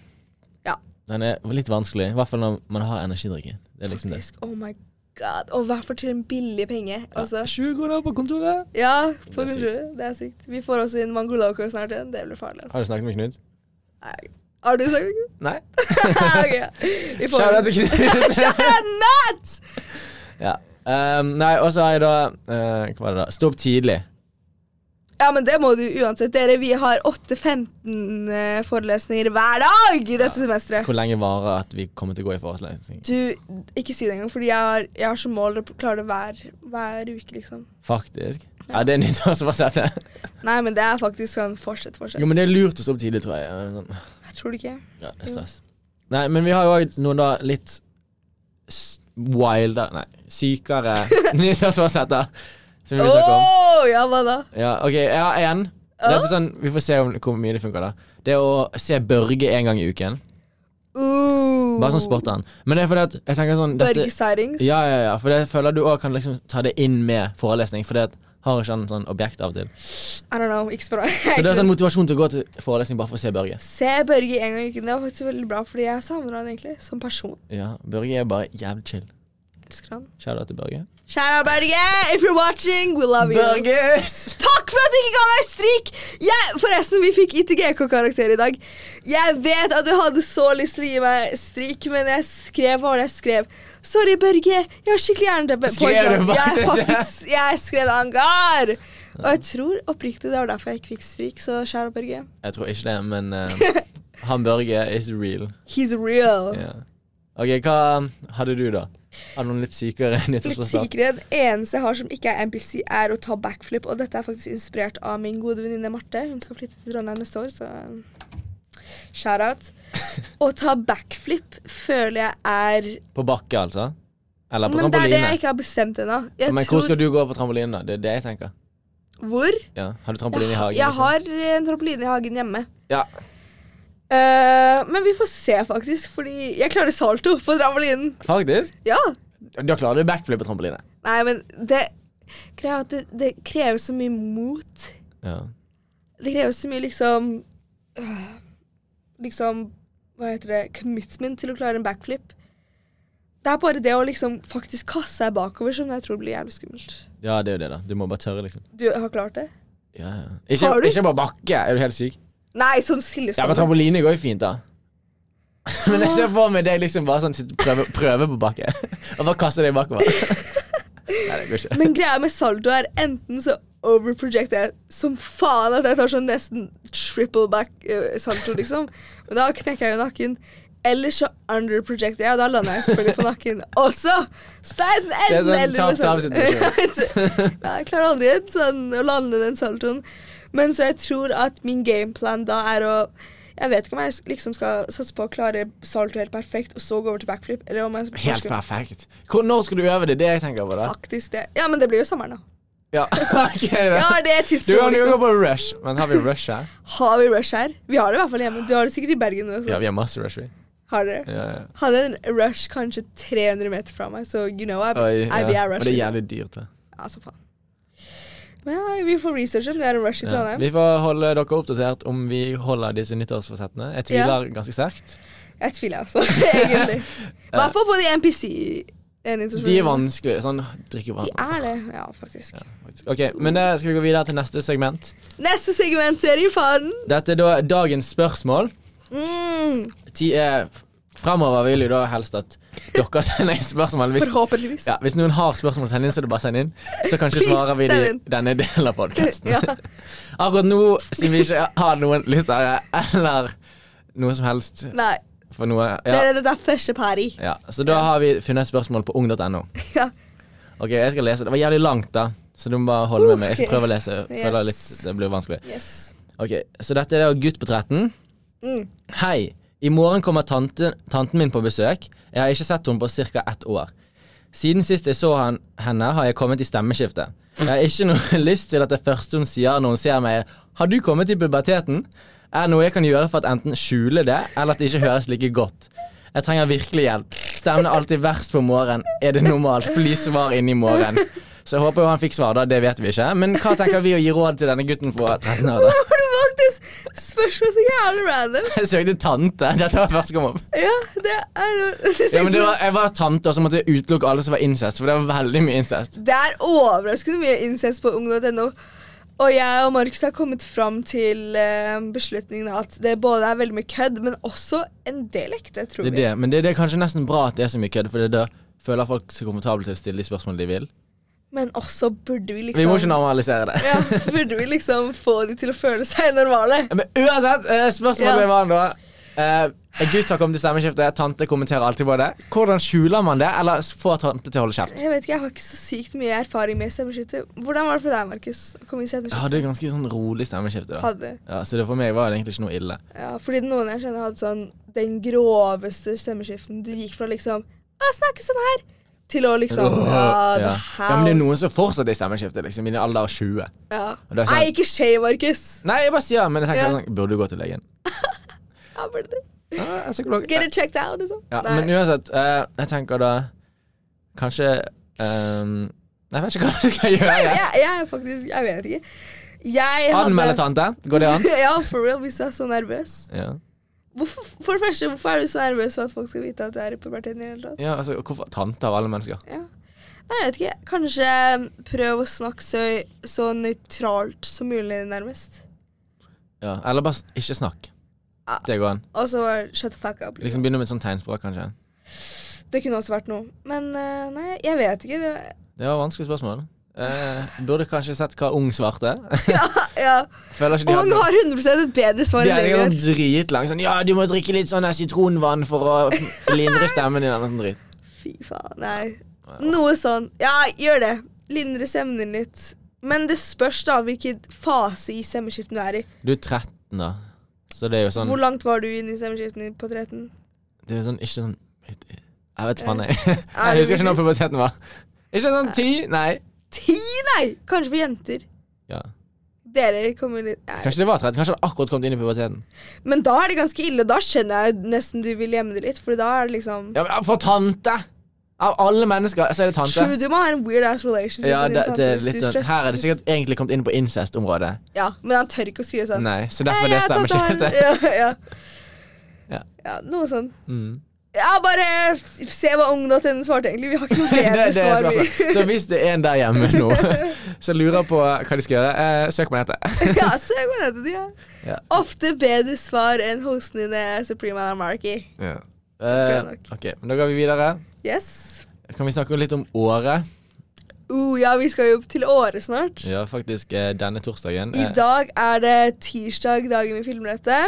[SPEAKER 2] Ja.
[SPEAKER 1] Den er litt vanskelig, i hvert fall når man har energidrikke. Det er liksom det.
[SPEAKER 2] Faktisk, oh my god. Og i hvert fall til en billig penge. Altså.
[SPEAKER 1] 20 kroner på kontoret!
[SPEAKER 2] Ja, på
[SPEAKER 1] Det er sykt.
[SPEAKER 2] kontoret. Det er sykt. Vi får også inn Mango Loco snart igjen. Det blir farlig. Altså.
[SPEAKER 1] Har du snakket med Knut?
[SPEAKER 2] Nei. Har du sagt det?
[SPEAKER 1] Nei.
[SPEAKER 2] ok. Vi får
[SPEAKER 1] Shout out til Knut!
[SPEAKER 2] Nat!
[SPEAKER 1] ja. Ehm, nei, og så har jeg da eh, Hva var det da? Stå opp tidlig.
[SPEAKER 2] Ja, men det må du uansett. Dere, vi har 8-15 eh, forelesninger hver dag i dette semesteret.
[SPEAKER 1] Hvor lenge varer at vi kommer til å gå i forelesning?
[SPEAKER 2] Du, ikke si det engang, fordi jeg har, jeg har som mål å klare det hver, hver uke, liksom.
[SPEAKER 1] Faktisk. Ja, det er nyttårsforsett.
[SPEAKER 2] Nei, men det er faktisk sånn fortsett, fortsett.
[SPEAKER 1] Jo, men det er lurt å stå opp tidlig, tror jeg. Eh, Sånn.
[SPEAKER 2] Jeg tror det ikke.
[SPEAKER 1] Ja, stress. Nei, men vi har jo òg noen da litt s- wildere Nei, sykere nyttårsforsetter som vi vil snakke om.
[SPEAKER 2] Åh, ja, hva da?
[SPEAKER 1] Ja, ok, jeg har én. Dette er sånn, vi får se om, hvor mye det funker. da Det er å se Børge en gang i uken.
[SPEAKER 2] Uh,
[SPEAKER 1] Bare sånn spotte han. Men det er fordi at jeg tenker sånn dette,
[SPEAKER 2] Børge-sightings.
[SPEAKER 1] Ja, ja, ja, for jeg føler du òg kan liksom ta det inn med forelesning. For det har ikke han sånn objekt av og til.
[SPEAKER 2] I don't know, ikke spør meg.
[SPEAKER 1] Så det er sånn motivasjon til å gå til forelesning bare for å se Børge.
[SPEAKER 2] Se Børge en gang i uken. Det var faktisk veldig bra, fordi jeg savner han egentlig som person.
[SPEAKER 1] Ja, Børge er bare jævlig chill.
[SPEAKER 2] Elsker han.
[SPEAKER 1] Shout out til Børge.
[SPEAKER 2] Kjære Børge, if you're watching, we love you.
[SPEAKER 1] Børges!
[SPEAKER 2] Takk for at du ikke ga meg stryk! Jeg, forresten, vi fikk ITGK-karakter i dag. Jeg vet at du hadde så lyst til å gi meg stryk, men jeg skrev hva var det jeg skrev. Sorry, Børge. Jeg har skikkelig hjerneteppe.
[SPEAKER 1] Skrev du
[SPEAKER 2] jeg,
[SPEAKER 1] faktisk det?
[SPEAKER 2] faktisk, jeg skrev det hangar. Og jeg tror oppriktig det var derfor jeg ikke fikk stryk, så kjære Børge.
[SPEAKER 1] Jeg tror ikke det, men eh, han Børge is real.
[SPEAKER 2] He's real.
[SPEAKER 1] Ja. Ok, hva hadde du, da? Hadde du noen litt sykere
[SPEAKER 2] Litt
[SPEAKER 1] nyttårsforsett?
[SPEAKER 2] sikre. Det eneste jeg har som ikke er MPC, er å ta backflip. Og dette er faktisk inspirert av min gode venninne Marte. Hun skal flytte til Trondheim neste år, så shout-out. Å ta backflip føler jeg er
[SPEAKER 1] På bakke, altså? Eller på
[SPEAKER 2] Men det er det
[SPEAKER 1] trampoline?
[SPEAKER 2] jeg ikke har bestemt ennå. Jeg
[SPEAKER 1] Men hvor
[SPEAKER 2] tror-
[SPEAKER 1] skal du gå på trampoline, da? Det er det jeg tenker.
[SPEAKER 2] Hvor?
[SPEAKER 1] Ja. Har du trampoline i hagen?
[SPEAKER 2] Jeg
[SPEAKER 1] liksom?
[SPEAKER 2] har en trampoline i hagen hjemme.
[SPEAKER 1] Ja.
[SPEAKER 2] Eh, men vi får se, faktisk. Fordi jeg klarer salto på trampolinen.
[SPEAKER 1] Faktisk?
[SPEAKER 2] Ja.
[SPEAKER 1] Da klarer du backflip på trampoline.
[SPEAKER 2] Nei, men det, greia er at det, det krever så mye mot.
[SPEAKER 1] Ja.
[SPEAKER 2] Det krever så mye liksom øh, Liksom Hva heter det? Commitment til å klare en backflip. Det er bare det å liksom faktisk kaste seg bakover som jeg tror blir jævlig skummelt.
[SPEAKER 1] ja, det er jo det, da. Du må bare tørre, liksom.
[SPEAKER 2] Du har klart det?
[SPEAKER 1] Ja, ja. Ikke,
[SPEAKER 2] Har du?
[SPEAKER 1] ikke på bakke! Er du helt syk?
[SPEAKER 2] Nei, sånn
[SPEAKER 1] Ja, men
[SPEAKER 2] stillestående.
[SPEAKER 1] trampoline går jo fint, da. Men jeg ser for meg deg liksom bare sånn sitte- prøve, prøve på bakke, og bare kaste deg bakover. Nei, det går ikke.
[SPEAKER 2] Men greia med saldo er enten så overprojecter jeg som faen at jeg tar sånn nesten triple back eh, salto, liksom. Men da knekker jeg jo nakken. Eller så underprojecter jeg, og da lander jeg selvfølgelig på nakken også. Så det er enten
[SPEAKER 1] Det er sånn
[SPEAKER 2] eller med
[SPEAKER 1] tap-tap-situasjon.
[SPEAKER 2] salto. ja, jeg klarer aldri en sånn, å lande den saltoen. Men så jeg tror at min gameplan da er å jeg vet ikke om jeg liksom skal satse på å klare salto helt perfekt, og så gå over til backflip. Eller om jeg
[SPEAKER 1] Helt perfekt. Hvor, når skal du øve det? Det er jeg tenker på, da.
[SPEAKER 2] Faktisk det. Ja, men det blir jo sommeren, da.
[SPEAKER 1] Ja, ok da.
[SPEAKER 2] Ja, det er
[SPEAKER 1] Du kan
[SPEAKER 2] tidspunktet.
[SPEAKER 1] jo gå
[SPEAKER 2] Liksom.
[SPEAKER 1] på Rush, men har vi Rush her?
[SPEAKER 2] Har vi Rush her? Vi har det i hvert fall hjemme. Du har det sikkert i Bergen også.
[SPEAKER 1] Ja, vi har masse Rush, vi.
[SPEAKER 2] Har dere?
[SPEAKER 1] Ja, ja.
[SPEAKER 2] Hadde en Rush kanskje 300 meter fra meg, så you know I,
[SPEAKER 1] Oi,
[SPEAKER 2] I be a
[SPEAKER 1] ja. Og
[SPEAKER 2] Rush.
[SPEAKER 1] det er jævlig dyrt, det.
[SPEAKER 2] Altså, faen. Men ja, vi får researche om det er en Rush i
[SPEAKER 1] Ja.
[SPEAKER 2] Trondheim.
[SPEAKER 1] Vi får holde dere oppdatert om vi holder disse nyttårsforsettene. Jeg tviler ganske sterkt.
[SPEAKER 2] Jeg tviler altså, egentlig. I hvert fall på de NPC.
[SPEAKER 1] De er vanskelige. Sånn drikke vann.
[SPEAKER 2] De er det, ja, faktisk.
[SPEAKER 1] faktisk. Ok, men eh, skal vi gå videre til neste segment.
[SPEAKER 2] Neste segment er i faen.
[SPEAKER 1] Dette er da dagens spørsmål.
[SPEAKER 2] Mm,
[SPEAKER 1] Ti er Fremover vil jo da helst at dere sender inn spørsmål. Hvis,
[SPEAKER 2] forhåpentligvis.
[SPEAKER 1] ja, hvis noen har spørsmål å sende inn, så er det bare å sende inn. Så kanskje
[SPEAKER 2] Please,
[SPEAKER 1] svarer vi
[SPEAKER 2] send
[SPEAKER 1] de,
[SPEAKER 2] inn.
[SPEAKER 1] denne delen av podkasten.
[SPEAKER 2] Ja.
[SPEAKER 1] Akkurat nå, siden vi ikke har noen lyttere eller noe som helst
[SPEAKER 2] Nei,
[SPEAKER 1] for noe ja.
[SPEAKER 2] dere, dette er første party.
[SPEAKER 1] ja, Så da har vi funnet et spørsmål på ung.no.
[SPEAKER 2] Ja.
[SPEAKER 1] Ok, jeg skal lese. Det var jævlig langt, da, så du må bare holde med meg. Jeg
[SPEAKER 2] Ok.
[SPEAKER 1] skal prøve å lese. Jeg Føler litt
[SPEAKER 2] Yes.
[SPEAKER 1] det blir vanskelig.
[SPEAKER 2] Yes.
[SPEAKER 1] Ok, Så dette er da gutt på 13.
[SPEAKER 2] Mm.
[SPEAKER 1] Hei. I morgen kommer tante, tanten min på besøk. Jeg har ikke sett henne på ca. ett år. Siden sist jeg så han, henne, har jeg kommet i stemmeskiftet. Jeg har ikke noe lyst til at det første hun sier når hun ser meg, er 'Har du kommet i puberteten?' Er det noe jeg kan gjøre for at enten skjule det, eller at det ikke høres like godt? Jeg trenger virkelig hjelp. Stemmen er alltid verst på morgenen. Er det normalt? Bli svar inn i morgen. Så jeg håper jo han fikk svar, da. Det vet vi ikke. Men hva tenker vi å gi råd til denne gutten på 13 år, da?
[SPEAKER 2] Har du valgt et spørsmål så jævlig random?
[SPEAKER 1] Jeg søkte tante. Dette var første gang opp.
[SPEAKER 2] Ja, det er
[SPEAKER 1] Ja, men det var, jeg var tante, og så måtte jeg utelukke alle som var incest, for det var veldig mye incest.
[SPEAKER 2] Det er overraskende mye incest på ung.no. Og jeg og Markus har kommet fram til eh, beslutningen at det både er veldig mye kødd, men også en del ekte, tror
[SPEAKER 1] Det er
[SPEAKER 2] vi.
[SPEAKER 1] det. Men det, det er kanskje nesten bra at det er så mye kødd, for det er da føler folk seg komfortable til å stille de spørsmålene de vil.
[SPEAKER 2] Men også burde vi liksom
[SPEAKER 1] Vi må ikke normalisere det.
[SPEAKER 2] ja, Burde vi liksom få de til å føle seg normale?
[SPEAKER 1] Men uansett, eh, spørsmålet
[SPEAKER 2] Ja.
[SPEAKER 1] var da eh, En gutt har kommet til stemmeskiftet, tante kommenterer alltid på det. Hvordan skjuler man det, eller får tante til å holde kjeft?
[SPEAKER 2] Jeg vet ikke, jeg har ikke så sykt mye erfaring med stemmeskytter. Hvordan var det for deg, Markus? å komme i
[SPEAKER 1] Jeg
[SPEAKER 2] stemmeskytter?
[SPEAKER 1] hadde et ganske sånn rolig stemmeskifte, da.
[SPEAKER 2] Hadde.
[SPEAKER 1] Ja, så det for meg var det egentlig ikke noe ille.
[SPEAKER 2] Ja, fordi noen jeg kjenner hadde sånn den groveste stemmeskiften. Du gikk fra liksom å snakke sånn her, til å liksom Ja, the
[SPEAKER 1] ja.
[SPEAKER 2] house.
[SPEAKER 1] ja, Men det er noen som fortsatt er i stemmeskiftet, liksom, i en alder av 20.
[SPEAKER 2] ja.
[SPEAKER 1] Og det er sånn-
[SPEAKER 2] Nei, ikke skje, Markus.
[SPEAKER 1] Nei, jeg bare sier men jeg tenker
[SPEAKER 2] Ja.
[SPEAKER 1] sånn, burde du gå til legen?
[SPEAKER 2] Ja, bare det.
[SPEAKER 1] Ja, en psykolog.
[SPEAKER 2] Get it checked out, liksom.
[SPEAKER 1] Ja,
[SPEAKER 2] Nei.
[SPEAKER 1] men uansett, eh, jeg tenker da Kanskje ehm, Jeg vet ikke hva du skal
[SPEAKER 2] Nei,
[SPEAKER 1] gjøre.
[SPEAKER 2] jeg, jeg er faktisk Jeg vet ikke. Jeg hadde
[SPEAKER 1] Anmelde tante. Går det an?
[SPEAKER 2] ja, for real, hvis du er så nervøs.
[SPEAKER 1] Ja.
[SPEAKER 2] Hvorfor, for det første, hvorfor er du så nervøs for at folk skal vite at du er i puberteten i det hele tatt?
[SPEAKER 1] ja, altså, hvorfor tante av alle mennesker?
[SPEAKER 2] Ja. Nei, jeg vet ikke. Kanskje um, prøv å snakke så, så nøytralt som mulig, nærmest.
[SPEAKER 1] Ja. Eller bare s- ikke snakk.
[SPEAKER 2] Ja.
[SPEAKER 1] Det går an.
[SPEAKER 2] Og så bare shut the fuck up.
[SPEAKER 1] Liksom
[SPEAKER 2] Liksom.
[SPEAKER 1] Begynne med et sånt tegnspråk, kanskje.
[SPEAKER 2] Det kunne også vært noe. Men eh, nei, jeg vet ikke. Det,
[SPEAKER 1] Det var et vanskelig spørsmål. Eh, burde kanskje sett hva ung svarte.
[SPEAKER 2] ja.
[SPEAKER 1] Føler ikke de
[SPEAKER 2] Ung
[SPEAKER 1] hadde-
[SPEAKER 2] har 100 et bedre svar
[SPEAKER 1] De
[SPEAKER 2] enn det
[SPEAKER 1] er
[SPEAKER 2] vi
[SPEAKER 1] sånn
[SPEAKER 2] gjør.
[SPEAKER 1] dritlang sånn Ja, du må drikke litt sånn her sitronvann for å lindre stemmen din. Eller noe sånt dritt.
[SPEAKER 2] Fy faen, nei. Noe sånn. Ja, gjør det. Lindre stemmen din litt. Men det spørs da hvilken fase i stemmeskiften du er i.
[SPEAKER 1] Du er 13, da. Så det er jo sånn
[SPEAKER 2] Hvor langt var du inn i stemmeskiften din på 13?
[SPEAKER 1] Det er sånn, ikke sånn Jeg vet faen,
[SPEAKER 2] Eh,
[SPEAKER 1] jeg. Jeg husker ikke når puberteten var. Ikke sånn ti? Nei.
[SPEAKER 2] Ti, nei! Kanskje for jenter.
[SPEAKER 1] Ja.
[SPEAKER 2] Dere kommer litt nei.
[SPEAKER 1] Kanskje det var 13. Kanskje det akkurat kommet inn i puberteten.
[SPEAKER 2] Men da er det ganske ille. Da skjønner jeg nesten du vil gjemme det litt. For da er det liksom
[SPEAKER 1] Ja, men For tante! Av alle mennesker så er det
[SPEAKER 2] True,
[SPEAKER 1] tante.
[SPEAKER 2] du må ha en weird ass relationship.
[SPEAKER 1] Ja,
[SPEAKER 2] med din
[SPEAKER 1] det,
[SPEAKER 2] tante
[SPEAKER 1] det er
[SPEAKER 2] hvis
[SPEAKER 1] litt
[SPEAKER 2] du
[SPEAKER 1] sånn Her er det
[SPEAKER 2] stresser-
[SPEAKER 1] sikkert egentlig kommet inn på incest-området.
[SPEAKER 2] Ja, Men han tør ikke å skrive sånn.
[SPEAKER 1] Nei, så
[SPEAKER 2] «Hei,
[SPEAKER 1] derfor det
[SPEAKER 2] jeg er
[SPEAKER 1] stemmer ikke.
[SPEAKER 2] tante
[SPEAKER 1] Det.
[SPEAKER 2] Harald». Ja, ja.
[SPEAKER 1] Ja.
[SPEAKER 2] ja, noe sånn.
[SPEAKER 1] Mm.
[SPEAKER 2] Ja, bare f- se hva ung.no svarte, egentlig. Vi har ikke noe bedre
[SPEAKER 1] det, det er
[SPEAKER 2] svar. vi.
[SPEAKER 1] spørsmålet. Så hvis det er en der hjemme nå som lurer på hva de skal gjøre, eh, søk på nettet.
[SPEAKER 2] ja, så jeg går ned til de, ja.
[SPEAKER 1] Ja.
[SPEAKER 2] Ofte bedre svar enn hostene dine, Supreme Anarchy.
[SPEAKER 1] Eh,
[SPEAKER 2] nok.
[SPEAKER 1] ok, men Da går vi videre.
[SPEAKER 2] Yes.
[SPEAKER 1] Kan vi snakke litt om året?
[SPEAKER 2] Uh, ja, vi skal jo til Åre snart.
[SPEAKER 1] Ja, faktisk eh, denne torsdagen.
[SPEAKER 2] I
[SPEAKER 1] eh,
[SPEAKER 2] dag er det tirsdag, dagen vi filmer dette.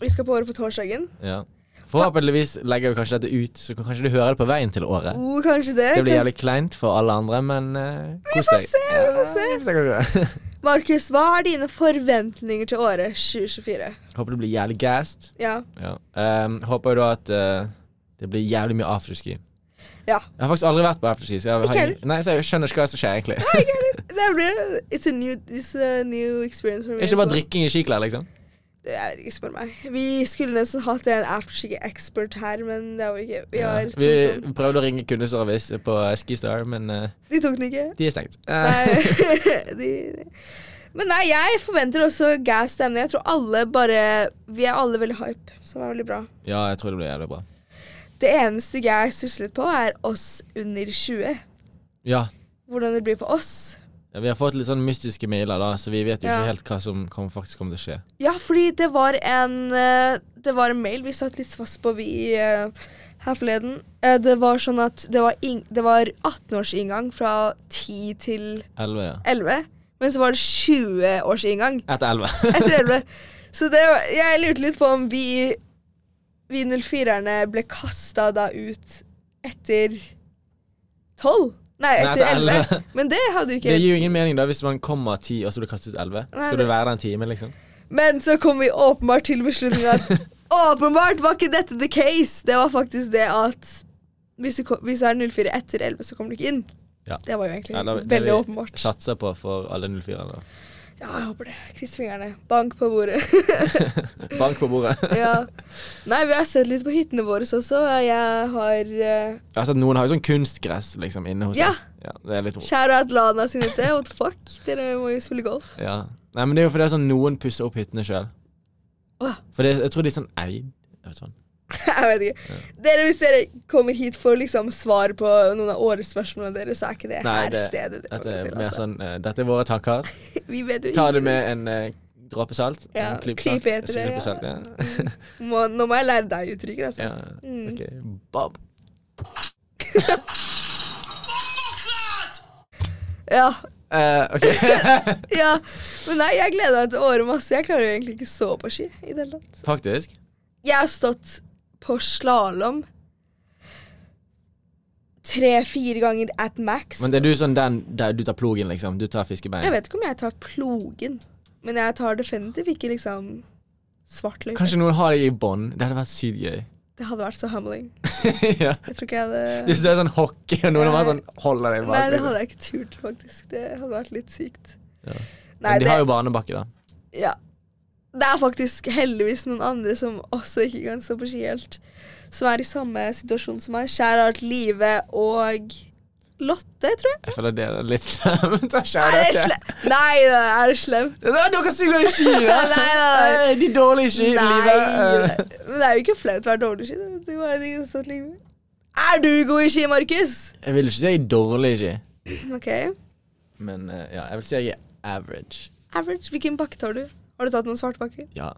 [SPEAKER 2] Vi skal på Åre på torsdagen.
[SPEAKER 1] Ja. Forhåpentligvis legger vi kanskje dette ut, så kan kanskje du hører det på veien til året.
[SPEAKER 2] Uh, kanskje det.
[SPEAKER 1] Det blir jævlig kleint for alle andre, men eh, kos deg.
[SPEAKER 2] se, vi får se.
[SPEAKER 1] Ja, vi får kanskje det.
[SPEAKER 2] Markus, hva er dine forventninger til året 2024?
[SPEAKER 1] Håper du blir jævlig gassed.
[SPEAKER 2] Ja.
[SPEAKER 1] Ja. Ehm, håper jo da at eh, det blir jævlig mye afterski.
[SPEAKER 2] Ja.
[SPEAKER 1] Jeg har faktisk aldri vært på afterski, så jeg,
[SPEAKER 2] Ikke
[SPEAKER 1] har,
[SPEAKER 2] heller.
[SPEAKER 1] nei, så jeg skjønner ikke hva som skjer, egentlig.
[SPEAKER 2] Det blir It's a new, it's a new experience for me.
[SPEAKER 1] Ikke bare
[SPEAKER 2] so-
[SPEAKER 1] drikking i skiklær, liksom.
[SPEAKER 2] Jeg vet ikke, spør meg. Vi skulle nesten hatt en afterski-expert her, men det har vi ikke. Vi
[SPEAKER 1] Ja.
[SPEAKER 2] har
[SPEAKER 1] vi
[SPEAKER 2] to som-
[SPEAKER 1] prøvde å ringe kundeservice på Skistar, men eh,
[SPEAKER 2] De tok den ikke.
[SPEAKER 1] de er stengt. Eh,
[SPEAKER 2] Nei, de... Men nei, jeg forventer også gas stemning. Jeg tror alle bare Vi er alle veldig hype, som er veldig bra.
[SPEAKER 1] ja, jeg tror det blir jævlig bra.
[SPEAKER 2] Det eneste jeg syslet på, er oss under 20.
[SPEAKER 1] Ja.
[SPEAKER 2] Hvordan det blir for oss.
[SPEAKER 1] ja, vi har fått litt sånn mystiske mailer, da, så vi vet jo
[SPEAKER 2] Ja.
[SPEAKER 1] ikke helt hva som kommer, faktisk kommer til å skje.
[SPEAKER 2] Ja, fordi det var en eh, Det var en mail vi satt litt fast på, vi, eh, her forleden. Eh, Det var sånn at det var, ing- det var 18-årsinngang fra 10 til
[SPEAKER 1] 11, ja.
[SPEAKER 2] 11. Men så var det 20-årsinngang
[SPEAKER 1] Etter 11.
[SPEAKER 2] etter 11. Så det var, jeg lurte litt på om vi, vi 04-erne ble kasta da ut etter 12. Nei,
[SPEAKER 1] Nei,
[SPEAKER 2] etter
[SPEAKER 1] etter
[SPEAKER 2] 11.
[SPEAKER 1] 11.
[SPEAKER 2] Men det hadde jo ikke
[SPEAKER 1] Det gir jo ingen mening da hvis man kommer ti og så blir kastet ut elleve.
[SPEAKER 2] Nei,
[SPEAKER 1] Skal
[SPEAKER 2] det-
[SPEAKER 1] du være der en time, liksom?
[SPEAKER 2] Men så kom vi åpenbart til beslutningen at åpenbart var ikke dette the case. Det var faktisk det at hvis du, kom, hvis du er 04 etter 11, så kommer du ikke inn.
[SPEAKER 1] Ja.
[SPEAKER 2] Det var jo egentlig
[SPEAKER 1] Ja, da- det
[SPEAKER 2] veldig
[SPEAKER 1] vi
[SPEAKER 2] åpenbart.
[SPEAKER 1] Satser på for alle 04-ene. da.
[SPEAKER 2] Ja, jeg håper det. Kryss fingrene. Bank på bordet.
[SPEAKER 1] Bank på bordet.
[SPEAKER 2] ja. Nei, vi har sett litt på hyttene våre også. Jeg har eh,
[SPEAKER 1] Altså, noen har jo sånn kunstgress liksom inne hos
[SPEAKER 2] Ja.
[SPEAKER 1] seg. Ja, det er litt ro.
[SPEAKER 2] Kjære Atlana sin hytte. What the fuck? Dere må jo spille golf.
[SPEAKER 1] Ja. Nei, men det er jo fordi det er sånn noen pusser opp hyttene sjøl.
[SPEAKER 2] Åh.
[SPEAKER 1] For det, jeg tror de er sånn eid. Jeg vet sånn.
[SPEAKER 2] Jeg vet ikke. Dere, Hvis dere kommer hit for liksom svar på noen av årets spørsmålene deres, så er ikke det
[SPEAKER 1] Nei,
[SPEAKER 2] her
[SPEAKER 1] det-
[SPEAKER 2] stedet dere
[SPEAKER 1] Dette
[SPEAKER 2] kommer
[SPEAKER 1] er
[SPEAKER 2] til.
[SPEAKER 1] mer
[SPEAKER 2] Altså.
[SPEAKER 1] sånn eh, Dette er våre tanker.
[SPEAKER 2] Vi vet jo
[SPEAKER 1] Ta det
[SPEAKER 2] ingenting.
[SPEAKER 1] med en eh, dråpe salt.
[SPEAKER 2] Ja,
[SPEAKER 1] en klype
[SPEAKER 2] klype
[SPEAKER 1] salt,
[SPEAKER 2] heter det,
[SPEAKER 1] en klype
[SPEAKER 2] ja.
[SPEAKER 1] salt, ja.
[SPEAKER 2] Må, nå må jeg lære deg uttrykker, altså.
[SPEAKER 1] ja.
[SPEAKER 2] Mm.
[SPEAKER 1] Ok. Bob.
[SPEAKER 2] Ja.
[SPEAKER 1] Eh, ok.
[SPEAKER 2] ja. Men nei, jeg gleder meg til året masse. Jeg klarer jo egentlig ikke stå på ski i det hele tatt.
[SPEAKER 1] Faktisk.
[SPEAKER 2] Jeg har stått på slalåm tre-fire ganger at max.
[SPEAKER 1] Men det er du sånn den der du tar plogen, liksom? Du tar
[SPEAKER 2] Jeg
[SPEAKER 1] fiskebein?
[SPEAKER 2] vet ikke om jeg tar plogen, men jeg tar definitivt ikke liksom svart løype.
[SPEAKER 1] Kanskje noen har deg i bånd? Det hadde vært sykt gøy.
[SPEAKER 2] Det hadde vært så humbling.
[SPEAKER 1] ja.
[SPEAKER 2] Jeg tror ikke jeg hadde
[SPEAKER 1] Hvis det er sånn hockey, og noen har vært
[SPEAKER 2] Nei.
[SPEAKER 1] sånn holder deg
[SPEAKER 2] Nei,
[SPEAKER 1] bak.
[SPEAKER 2] det
[SPEAKER 1] Liksom.
[SPEAKER 2] hadde jeg ikke turt, faktisk. Det hadde vært litt sykt.
[SPEAKER 1] Ja.
[SPEAKER 2] Nei,
[SPEAKER 1] Men de
[SPEAKER 2] det,
[SPEAKER 1] har jo barnebakke, da.
[SPEAKER 2] ja. det er faktisk heldigvis noen andre som også ikke kan stå på ski helt, som er i samme situasjon som meg. Skjærart Live og Lotte, tror jeg.
[SPEAKER 1] Jeg føler det er litt slemt. Jeg
[SPEAKER 2] Er
[SPEAKER 1] skjærer
[SPEAKER 2] det
[SPEAKER 1] ikke.
[SPEAKER 2] slemt? Nei, nei, er det slemt?
[SPEAKER 1] Det er Dere suger i ski! da.
[SPEAKER 2] Nei, nei, nei.
[SPEAKER 1] Eh, De dårlige ski i livet.
[SPEAKER 2] Nei. Men det er jo ikke flaut å være dårlig i ski. Det betyr bare at ingen har stått lenge. Er du god i ski, Markus?
[SPEAKER 1] Eh, Jeg vil ikke si jeg er dårlig i ski,
[SPEAKER 2] OK.
[SPEAKER 1] men eh, ja, jeg vil si jeg er average.
[SPEAKER 2] Average. Hvilken bakke tar du? Har du tatt noen svarte bakker?
[SPEAKER 1] Ja.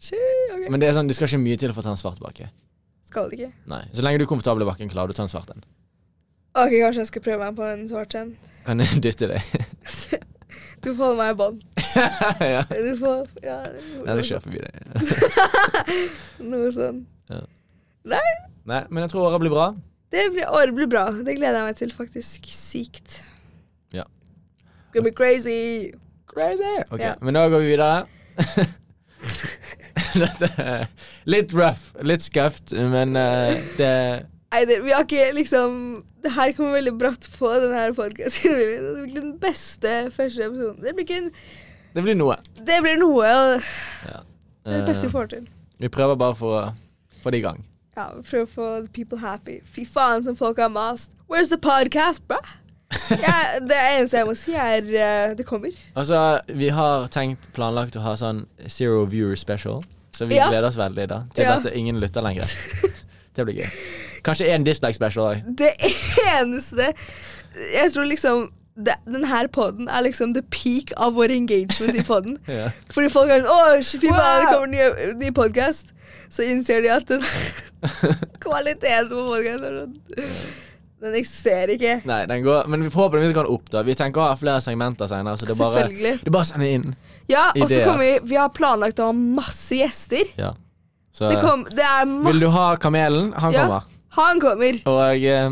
[SPEAKER 2] Sju, ok.
[SPEAKER 1] Men det er sånn, du skal ikke mye til for å ta en svart bakke.
[SPEAKER 2] Skal det ikke.
[SPEAKER 1] Nei. Så lenge du er komfortabel i bakken, klarer du å ta en svart en.
[SPEAKER 2] Ok, kanskje jeg skal prøve meg på en svart en.
[SPEAKER 1] Kan jeg dytte deg?
[SPEAKER 2] Du får holde meg i bånd.
[SPEAKER 1] ja.
[SPEAKER 2] Du får ja,
[SPEAKER 1] Nei, jeg kjører forbi deg.
[SPEAKER 2] noe sånn.
[SPEAKER 1] Nei, men jeg tror året blir bra.
[SPEAKER 2] Det blir, året blir bra. Det gleder jeg meg til, faktisk. Sykt.
[SPEAKER 1] Ja.
[SPEAKER 2] It's gonna be crazy.
[SPEAKER 1] Crazy! Ok,
[SPEAKER 2] Ja.
[SPEAKER 1] men da går vi videre. Dette er litt rough, litt skuffed, men eh, det
[SPEAKER 2] Nei, det, vi har ikke liksom Det her kommer veldig bratt på denne her podkasten. Det blir ikke den beste første episoden. Det blir, ikke en,
[SPEAKER 1] Det blir noe.
[SPEAKER 2] det blir noe. Og det er det beste
[SPEAKER 1] Eh,
[SPEAKER 2] vi får til.
[SPEAKER 1] vi prøver bare for å få det i gang.
[SPEAKER 2] Ja, vi prøver å få the people happy. Fy faen, som folk har mast. Where's the podcast, bra? Ja, det eneste jeg må si, er eh, det kommer.
[SPEAKER 1] Altså, vi har tenkt planlagt å ha sånn zero viewer special, så vi
[SPEAKER 2] Ja.
[SPEAKER 1] gleder oss veldig da til
[SPEAKER 2] Ja.
[SPEAKER 1] at ingen lytter lenger. Det blir gøy. Kanskje en dislike special òg.
[SPEAKER 2] Det eneste Jeg tror liksom det, den her poden er liksom the peak av vår engagement i poden.
[SPEAKER 1] Ja.
[SPEAKER 2] Fordi folk er sånn Å, fy faen, det
[SPEAKER 1] Wow!»
[SPEAKER 2] kommer ny, ny podkast. Så innser de at den kvaliteten på podkasten Den eksisterer ikke.
[SPEAKER 1] Nei, den går Men vi forhåpentligvis går den opp, da. Vi tenker å ha flere segmenter senere, så det er bare,
[SPEAKER 2] Selvfølgelig.
[SPEAKER 1] det er bare å sende inn.
[SPEAKER 2] Ja, og så
[SPEAKER 1] Ideer.
[SPEAKER 2] kommer vi Vi har planlagt å ha masse gjester.
[SPEAKER 1] Ja. Så
[SPEAKER 2] Det, kom, det er masse
[SPEAKER 1] eh, Vil du ha Kamelen? Han
[SPEAKER 2] Ja.
[SPEAKER 1] kommer.
[SPEAKER 2] Han kommer.
[SPEAKER 1] Og eh,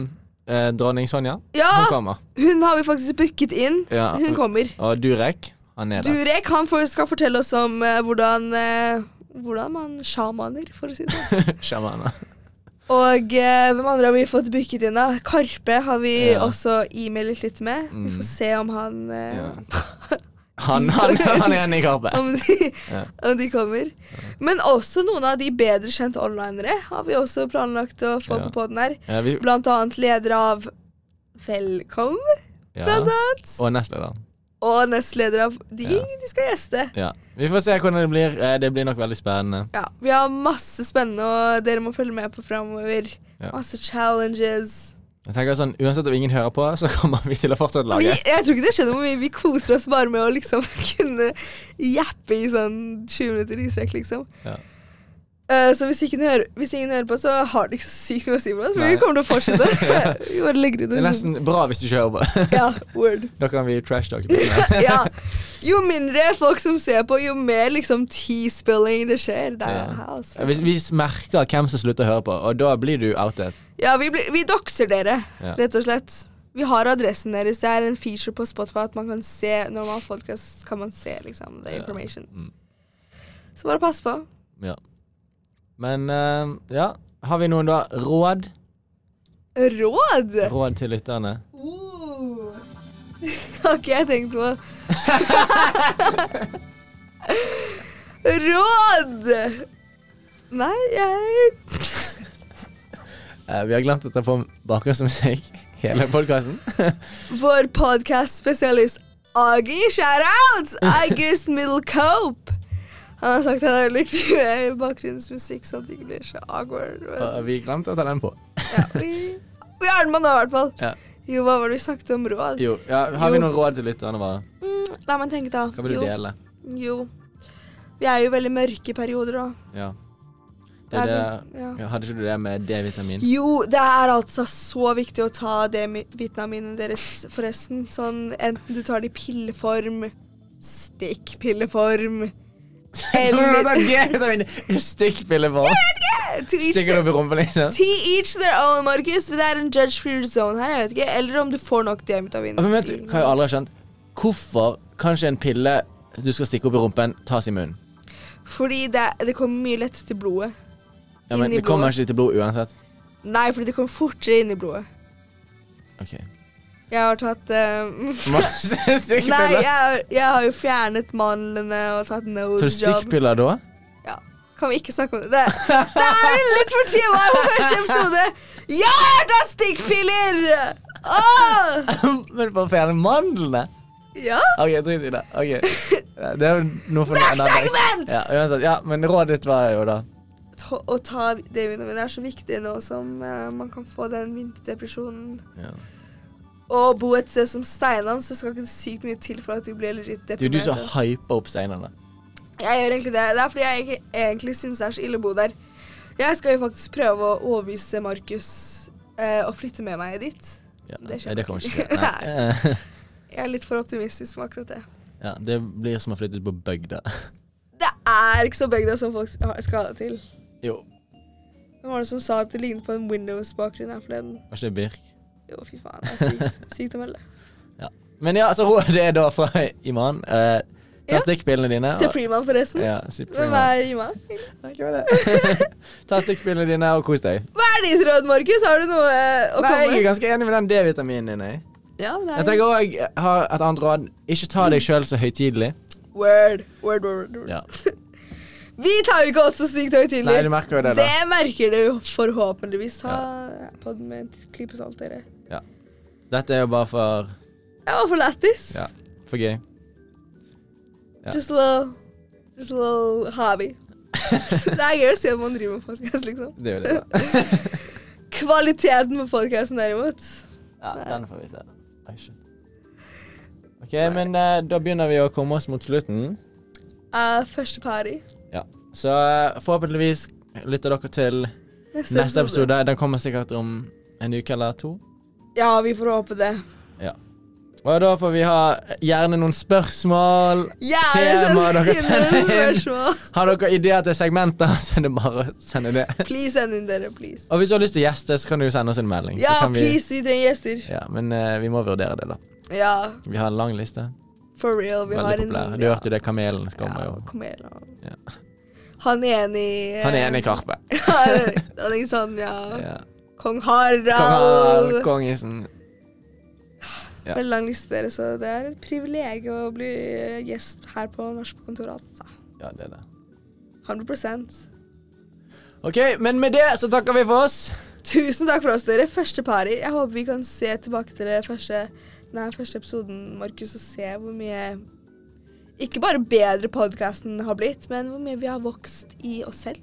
[SPEAKER 1] eh, dronning Sonja? Hun
[SPEAKER 2] Ja!
[SPEAKER 1] kommer.
[SPEAKER 2] Hun har vi faktisk booket inn.
[SPEAKER 1] Ja.
[SPEAKER 2] Ah! Hun kommer.
[SPEAKER 1] Og Durek? Han er der.
[SPEAKER 2] Durek han får, skal fortelle oss om eh, hvordan, eh, hvordan man sjamaner, for å si det sånn.
[SPEAKER 1] Sjamaner.
[SPEAKER 2] Og eh, hvem andre har vi fått booket inn, da? Karpe har vi
[SPEAKER 1] Ja.
[SPEAKER 2] også e-mailet litt med. Vi
[SPEAKER 1] Mm.
[SPEAKER 2] får se om han eh,
[SPEAKER 1] Ja. Han, han, han er enig i Karpe.
[SPEAKER 2] om, de,
[SPEAKER 1] Ja.
[SPEAKER 2] om de kommer. Men også noen av de bedre kjente onlinere har vi også planlagt å få
[SPEAKER 1] Ja.
[SPEAKER 2] på podden her.
[SPEAKER 1] Ja, vi,
[SPEAKER 2] Blant annet leder av Velkommen,
[SPEAKER 1] ja.
[SPEAKER 2] blant annet.
[SPEAKER 1] Og nestlederen.
[SPEAKER 2] Og nestleder av De,
[SPEAKER 1] Ja.
[SPEAKER 2] de skal gjeste.
[SPEAKER 1] Ja. Vi får se hvordan det blir. Eh, Det blir nok veldig spennende.
[SPEAKER 2] Ja, vi har masse spennende, og dere må følge med på framover.
[SPEAKER 1] Ja.
[SPEAKER 2] Masse challenges.
[SPEAKER 1] Jeg tenker sånn, Uansett om ingen hører på, så kommer vi til å fortsette
[SPEAKER 2] Vi,
[SPEAKER 1] laget.
[SPEAKER 2] jeg tror ikke det skjedde hvor mye. Vi koser oss bare med å liksom kunne jappe i sånn 20 minutter i strekk, liksom.
[SPEAKER 1] Ja.
[SPEAKER 2] Eh, så hvis, ikke hører, hvis ingen hører på, så har det ikke så sykt mye å si for oss. Men
[SPEAKER 1] Nei.
[SPEAKER 2] vi kommer til å fortsette. vi bare legger ut
[SPEAKER 1] Det er nesten bra hvis du ikke hører på.
[SPEAKER 2] Ja, word.
[SPEAKER 1] Da kan vi trash talke. på det.
[SPEAKER 2] ja. Jo mindre folk som ser på, jo mer liksom tea-spilling det skjer. Det er
[SPEAKER 1] Ja.
[SPEAKER 2] house.
[SPEAKER 1] Vi, vi merker hvem som slutter å høre på, og da blir du outet.
[SPEAKER 2] Ja, vi, blir- vi doxer dere,
[SPEAKER 1] Ja.
[SPEAKER 2] rett og slett. Vi har adressen deres. Det er en feature på Spotify at man kan se når man har podcast, kan man se liksom, the
[SPEAKER 1] Ja.
[SPEAKER 2] information.
[SPEAKER 1] Mm.
[SPEAKER 2] Så bare pass på.
[SPEAKER 1] Ja. Men eh, ja. Har vi noen da råd?
[SPEAKER 2] Råd!
[SPEAKER 1] Råd til lytterne?
[SPEAKER 2] Uh. har ikke jeg tenkt på. Råd! Nei, jeg
[SPEAKER 1] Eh, vi har glemt å ta på bakgrunnsmusikk hele podkasten.
[SPEAKER 2] Vår podcast-spesialist Agi, shout-out! August Middlecope. Han har sagt at han har likt bakgrunnsmusikk, sånn at det ikke blir så awkward. Men,
[SPEAKER 1] vi glemte å ta den på.
[SPEAKER 2] ja, vi, vi har den med nå, i hvert fall.
[SPEAKER 1] Ja.
[SPEAKER 2] Jo, hva var det vi snakket om råd?
[SPEAKER 1] Jo, ja, Har vi
[SPEAKER 2] Jo.
[SPEAKER 1] noen råd til lytterne våre?
[SPEAKER 2] Mm, la meg tenke, da.
[SPEAKER 1] Hva vil du
[SPEAKER 2] jo,
[SPEAKER 1] dele?
[SPEAKER 2] jo. Vi er jo veldig mørke i perioder, da.
[SPEAKER 1] Ja. Det er
[SPEAKER 2] Er
[SPEAKER 1] det,
[SPEAKER 2] vi- ja.
[SPEAKER 1] ja, hadde ikke du det med D-vitamin?
[SPEAKER 2] Jo, det er altså så viktig å ta det mi- vitaminene deres, forresten. Sånn, enten du tar det i pilleform, stikkpilleform
[SPEAKER 1] Tror du
[SPEAKER 2] eller
[SPEAKER 1] det er D-vitamin? Stikkpille for?
[SPEAKER 2] To each
[SPEAKER 1] Stikker det
[SPEAKER 2] their,
[SPEAKER 1] opp i rumpa, liksom?
[SPEAKER 2] to each their own, Markus. For det er en judge free zone her, jeg vet ikke. Eller om du får nok D-vitamin.
[SPEAKER 1] Men vet du hva jeg aldri har skjønt? Hvorfor kan ikke en pille du skal stikke opp i rumpen, tas i munnen?
[SPEAKER 2] Fordi det, det kommer mye lettere til blodet.
[SPEAKER 1] Ja, men
[SPEAKER 2] Inn i
[SPEAKER 1] Det kommer
[SPEAKER 2] blodet.
[SPEAKER 1] ikke til blod uansett.
[SPEAKER 2] Nei, fordi det kommer fortere inn i blodet.
[SPEAKER 1] Ok.
[SPEAKER 2] Jeg har tatt eh,
[SPEAKER 1] Masse
[SPEAKER 2] Nei,
[SPEAKER 1] stikkpiller.
[SPEAKER 2] jeg, jeg har jo fjernet mandlene og tatt
[SPEAKER 1] Tar
[SPEAKER 2] nose
[SPEAKER 1] du
[SPEAKER 2] job.
[SPEAKER 1] stikkpiller da?
[SPEAKER 2] Ja. Kan vi ikke snakke om det? Det, det er litt for tema på første episode. Ja, jeg har tatt stikkpiller! Åh!
[SPEAKER 1] men for å fjerne mandlene?
[SPEAKER 2] Ja.
[SPEAKER 1] Ok, drit i det. Ok. Det er jo noe for en
[SPEAKER 2] Next
[SPEAKER 1] annen dag.
[SPEAKER 2] segment!
[SPEAKER 1] Ja, uansett. Ja, men rådet ditt var jo da
[SPEAKER 2] Ta, å ta D-vitamin er så viktig nå som eh, man kan få den vinterdepresjonen.
[SPEAKER 1] ja.
[SPEAKER 2] Og bo et sted som Steinan, så skal ikke sykt mye til for at du blir litt
[SPEAKER 1] Det er jo du
[SPEAKER 2] deprimert.
[SPEAKER 1] som hyper opp steinene.
[SPEAKER 2] Jeg gjør egentlig det. Det er fordi jeg ikke egentlig syns det er så ille å bo der. Jeg skal jo faktisk prøve å overbevise Markus eh, å flytte med meg dit.
[SPEAKER 1] Ja,
[SPEAKER 2] Det skjer
[SPEAKER 1] nei, det kommer ikke
[SPEAKER 2] ikke.
[SPEAKER 1] til. Nei. Eh,
[SPEAKER 2] Jeg er litt for optimistisk med akkurat det.
[SPEAKER 1] Ja, det blir som å flytte ut på bygda.
[SPEAKER 2] Det er ikke så bygda som folk har- skal ha det til.
[SPEAKER 1] Jo,
[SPEAKER 2] Hvem var det som sa at det lignet på en Windows-bakgrunn her forleden?
[SPEAKER 1] var ikke det Birk?
[SPEAKER 2] Jo, fy faen. Det er sykt, sykt å melde.
[SPEAKER 1] Men ja, så rådet er da fra Iman. Eh, ta
[SPEAKER 2] Ja.
[SPEAKER 1] stikkpillene dine. og-
[SPEAKER 2] Supreman, forresten.
[SPEAKER 1] Ja, Supreme.
[SPEAKER 2] Hvem er Iman?
[SPEAKER 1] Nei, Hvem er det? ta stikkpillene dine og kos deg.
[SPEAKER 2] Hva er ditt råd, Markus? Har du noe eh, å
[SPEAKER 1] Nei, jeg er
[SPEAKER 2] komme med?
[SPEAKER 1] ganske enig med den D-vitaminen din. Jeg.
[SPEAKER 2] Ja, det
[SPEAKER 1] jeg
[SPEAKER 2] er
[SPEAKER 1] tenker òg har et annet råd. Ikke ta deg sjøl så høytidelig.
[SPEAKER 2] Word. Word, word, word.
[SPEAKER 1] Ja.
[SPEAKER 2] Vi tar jo ikke oss så sykt høytidelig.
[SPEAKER 1] Nei, du merker jo det, da.
[SPEAKER 2] Det merker du jo forhåpentligvis. Ta ja. podden med en klype salt, dere.
[SPEAKER 1] Dette er jo bare for
[SPEAKER 2] Jeg var for lættis.
[SPEAKER 1] Ja. for gøy. ja.
[SPEAKER 2] Just a little Just a little hobby. det er gøy å se at man driver med podkast, liksom.
[SPEAKER 1] Det er jo det, da.
[SPEAKER 2] Kvaliteten på podkasten, derimot.
[SPEAKER 1] Ja, den får vi se. Oi, shit. OK, men eh, da begynner vi å komme oss mot slutten.
[SPEAKER 2] Er første party.
[SPEAKER 1] Ja. Så eh, forhåpentligvis lytter dere til neste episode. Den kommer sikkert om en uke eller to.
[SPEAKER 2] Ja, vi får håpe det.
[SPEAKER 1] Og da får vi ha gjerne noen spørsmål.
[SPEAKER 2] Gjerne
[SPEAKER 1] Tema
[SPEAKER 2] send
[SPEAKER 1] dere
[SPEAKER 2] inn
[SPEAKER 1] sender
[SPEAKER 2] noen
[SPEAKER 1] inn.
[SPEAKER 2] spørsmål.
[SPEAKER 1] Har dere ideer til segmenter, så er det bare å sende det.
[SPEAKER 2] Please send inn dere, please.
[SPEAKER 1] Og hvis du har lyst til gjester, så kan du jo sende oss en melding. så
[SPEAKER 2] Ja,
[SPEAKER 1] kan vi,
[SPEAKER 2] please, vi trenger gjester.
[SPEAKER 1] ja, men eh, vi må vurdere det, da.
[SPEAKER 2] Ja,
[SPEAKER 1] Vi har en lang liste.
[SPEAKER 2] for real. Vi har
[SPEAKER 1] Veldig
[SPEAKER 2] en
[SPEAKER 1] populær. Du
[SPEAKER 2] ja.
[SPEAKER 1] hørte jo det, Kamelen kommer jo.
[SPEAKER 2] Ja, kom igjen, da.
[SPEAKER 1] Ja.
[SPEAKER 2] Han er enig i
[SPEAKER 1] Han er enig i Karpe.
[SPEAKER 2] Dronning Sonja.
[SPEAKER 1] Ja.
[SPEAKER 2] sånn, Kong Harald.
[SPEAKER 1] Kong Harald, Kongisen. ja.
[SPEAKER 2] Veldig lang liste, dere, så det er et privilegium å bli gjest her på Nachspiel-kontoret. Altså.
[SPEAKER 1] Ja, det er det.
[SPEAKER 2] 100
[SPEAKER 1] OK, men med det så takker vi for oss.
[SPEAKER 2] Tusen takk for oss, dere. Første pari. Jeg håper vi kan se tilbake til det første, denne første episoden, Markus, og se hvor mye Ikke bare bedre podkasten har blitt, men hvor mye vi har vokst i oss selv.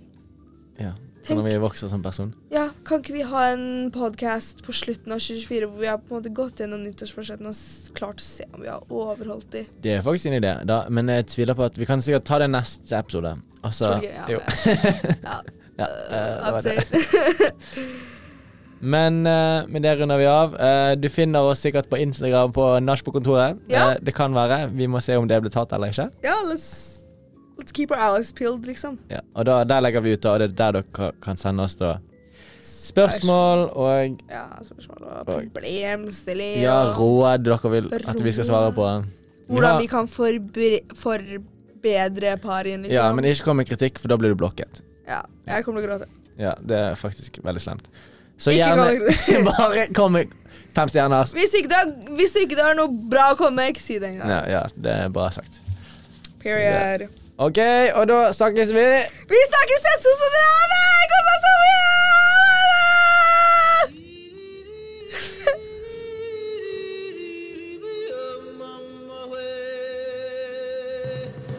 [SPEAKER 1] Ja,
[SPEAKER 2] Tenk.
[SPEAKER 1] Når vi vokser som person.
[SPEAKER 2] Ja, kan ikke vi ha en podkast på slutten av 2024 hvor vi har på en måte gått gjennom nyttårsforsettene og s- klart å se om vi har overholdt de?
[SPEAKER 1] Det er faktisk en idé, da, men jeg tviler på at vi kan sikkert ta det neste episode. Altså,
[SPEAKER 2] Tror du ikke? Ja, øh,
[SPEAKER 1] jo.
[SPEAKER 2] Ja,
[SPEAKER 1] Ja, eh, det var det.
[SPEAKER 2] update.
[SPEAKER 1] Men eh, med det runder vi av. Eh, du finner oss sikkert på Instagram på Nach på kontoret.
[SPEAKER 2] Ja.
[SPEAKER 1] Eh, det kan være. Vi må se om det ble tatt eller ikke.
[SPEAKER 2] ja let's, let's keep our allies peeled, liksom.
[SPEAKER 1] Ja. Og da, der legger vi ut, da, og det er der dere kan sende oss da spørsmål og
[SPEAKER 2] Ja, spørsmål og
[SPEAKER 1] Og-
[SPEAKER 2] problemstilling.
[SPEAKER 1] ja,
[SPEAKER 2] og
[SPEAKER 1] råd dere vil at vi skal svare på. Vi
[SPEAKER 2] hvordan
[SPEAKER 1] har-
[SPEAKER 2] vi kan forbre forbedre parien, liksom.
[SPEAKER 1] ja, men ikke kom med kritikk, for da blir du blokket.
[SPEAKER 2] Ja, jeg kommer til å gråte.
[SPEAKER 1] Ja, Det er faktisk veldig slemt. Så
[SPEAKER 2] Ikke
[SPEAKER 1] gjerne Bare kom med fem stjerner.
[SPEAKER 2] Hvis ikke, det er, hvis ikke det er noe bra å komme med, ikke si det engang.
[SPEAKER 1] Ja, ja, det er bra sagt.
[SPEAKER 2] Period.
[SPEAKER 1] OK, og da snakkes vi.
[SPEAKER 2] Vi snakkes neste onsdag! Ha det! God dag!